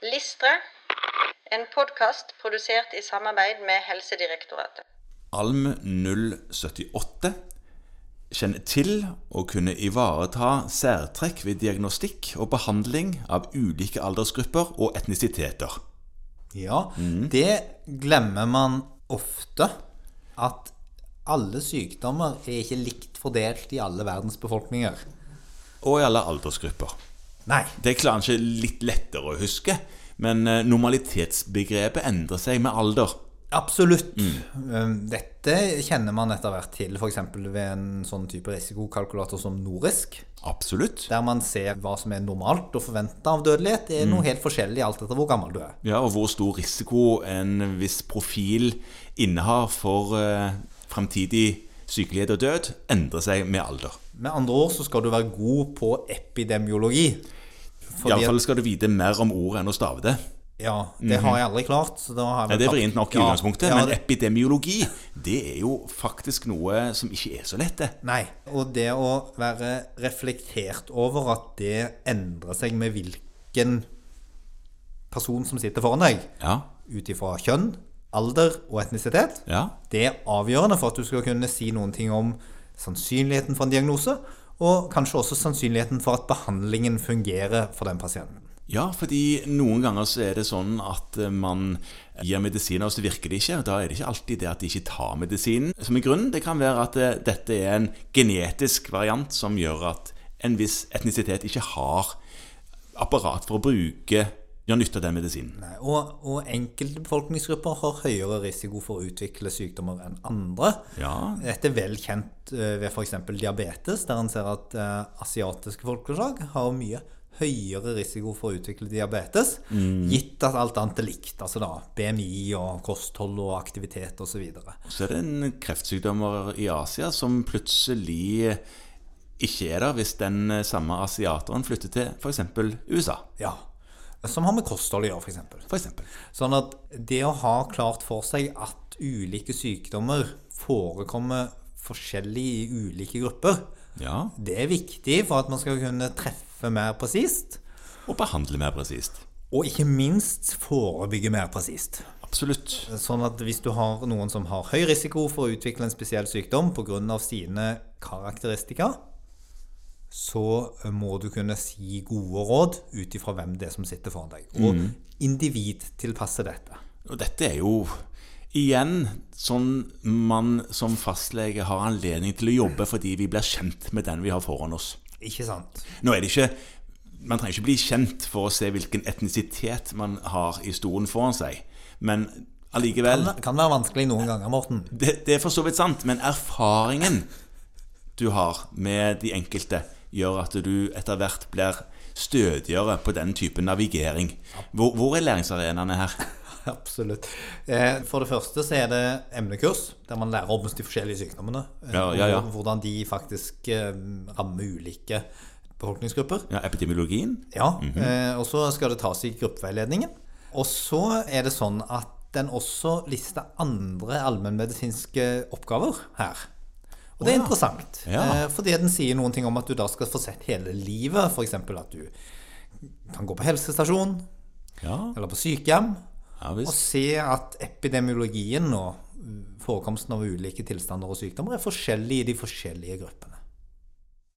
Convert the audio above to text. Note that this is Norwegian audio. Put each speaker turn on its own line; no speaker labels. Listre, en podkast produsert i samarbeid med Helsedirektoratet.
Alm 078 kjenner til å kunne ivareta særtrekk ved diagnostikk og behandling av ulike aldersgrupper og etnisiteter.
Ja,
Mhm.
det glemmer man ofte. At alle sykdommer er ikke likt fordelt i alle verdens befolkninger.
Og i alle aldersgrupper.
Nei.
Det er kanskje litt lettere å huske, men eh, normalitetsbegrepet endrer seg med alder.
Absolutt.
Mm.
Eh, Dette kjenner man etter hvert til f.eks. ved en sånn type risikokalkulator som Norisk.
Absolutt.
Der man ser hva som er normalt og forventa av dødelighet. Det er
Mm.
noe helt forskjellig alt etter hvor gammel du er.
Ja, og hvor stor risiko en viss profil innehar for eh, fremtidig sykelighet og død, endrer seg med alder.
Med andre ord så skal du være god på epidemiologi.
I
Fordi
alle
at-
fall skal du vite mer om ordet enn å stave det.
Ja, det har jeg aldri klart. Så da har jeg
Ja,
vel
Mhm. det er
tapt-
vrient nok i
Ja,
utgangspunktet,
ja,
men
det-
epidemiologi det er jo faktisk noe som ikke er så lett, det.
Nei. Og det å være reflektert over at det endrer seg med hvilken person som sitter foran deg,
Ja,
ut ifra kjønn, alder og etnisitet,
ja,
det er avgjørende for at du skal kunne si noen ting om sannsynligheten for en diagnose, og kanskje også sannsynligheten for at behandlingen fungerer for den pasienten.
ja, fordi noen ganger så er det sånn at eh, man gir medisiner, og så virker det ikke. og Da er det ikke alltid det at de ikke tar medisinen som er grunnen. Det kan være at eh, dette er en genetisk variant som gjør at en viss etnisitet ikke har apparat for å bruke gjøre nytte av den medisinen.
Nei, Og, og enkelte befolkningsgrupper har høyere risiko for å utvikle sykdommer enn andre.
Ja.
Dette er vel kjent eh, ved f.eks. diabetes, der en ser at eh, asiatiske folkeslag har mye høyere risiko for å utvikle diabetes, gitt at alt annet er likt. Altså da BMI og kosthold og aktivitet osv.
Så er det en kreftsykdommer i Asia som plutselig ikke er der hvis den samme asiateren flytter til f.eks. USA.
Ja. Som har med kosthold å gjøre, f.eks.
For eksempel.
Sånn at det å ha klart for seg at ulike sykdommer forekommer forskjellig i ulike grupper,
Ja,
det er viktig for at man skal kunne treffe mer presist.
og behandle mer presist.
Og ikke minst forebygge mer presist.
Absolutt.
Sånn at hvis du har noen som har høy risiko for å utvikle en spesiell sykdom pga. sine karakteristika, så må du kunne si gode råd ut ifra hvem det er som sitter foran deg. Og individtilpasse dette.
Og dette er jo igjen sånn man som fastlege har anledning til å jobbe fordi vi blir kjent med den vi har foran oss.
Ikke sant?
Nå er det ikke Man trenger ikke bli kjent for å se hvilken etnisitet man har i stolen foran seg, men allikevel
Det kan være vanskelig noen ganger, Morten.
det, det er for så vidt sant, men erfaringen du har med de enkelte, gjør at du etter hvert blir stødigere på den type navigering. Hvor, hvor er læringsarenaene her?
Absolutt. Eh, For det første så er det emnekurs, der man lærer om de forskjellige sykdommene. eh,
Ja, ja, ja.
og Hvordan de faktisk eh, rammer ulike befolkningsgrupper.
Ja, epidemiologien?
Ja,
Mhm.
eh, og så skal det tas i gruppeveiledningen. Og så er det sånn at den også lister andre allmennmedisinske oppgaver her. Og det er interessant,
Ja.
eh, fordi den sier noen ting om at du da skal få sett hele livet. F.eks. at du kan gå på helsestasjon
Ja,
eller på sykehjem
ja
og
visst.
se at epidemiologien og mm, forekomsten av ulike tilstander og sykdommer er forskjellig i de forskjellige gruppene.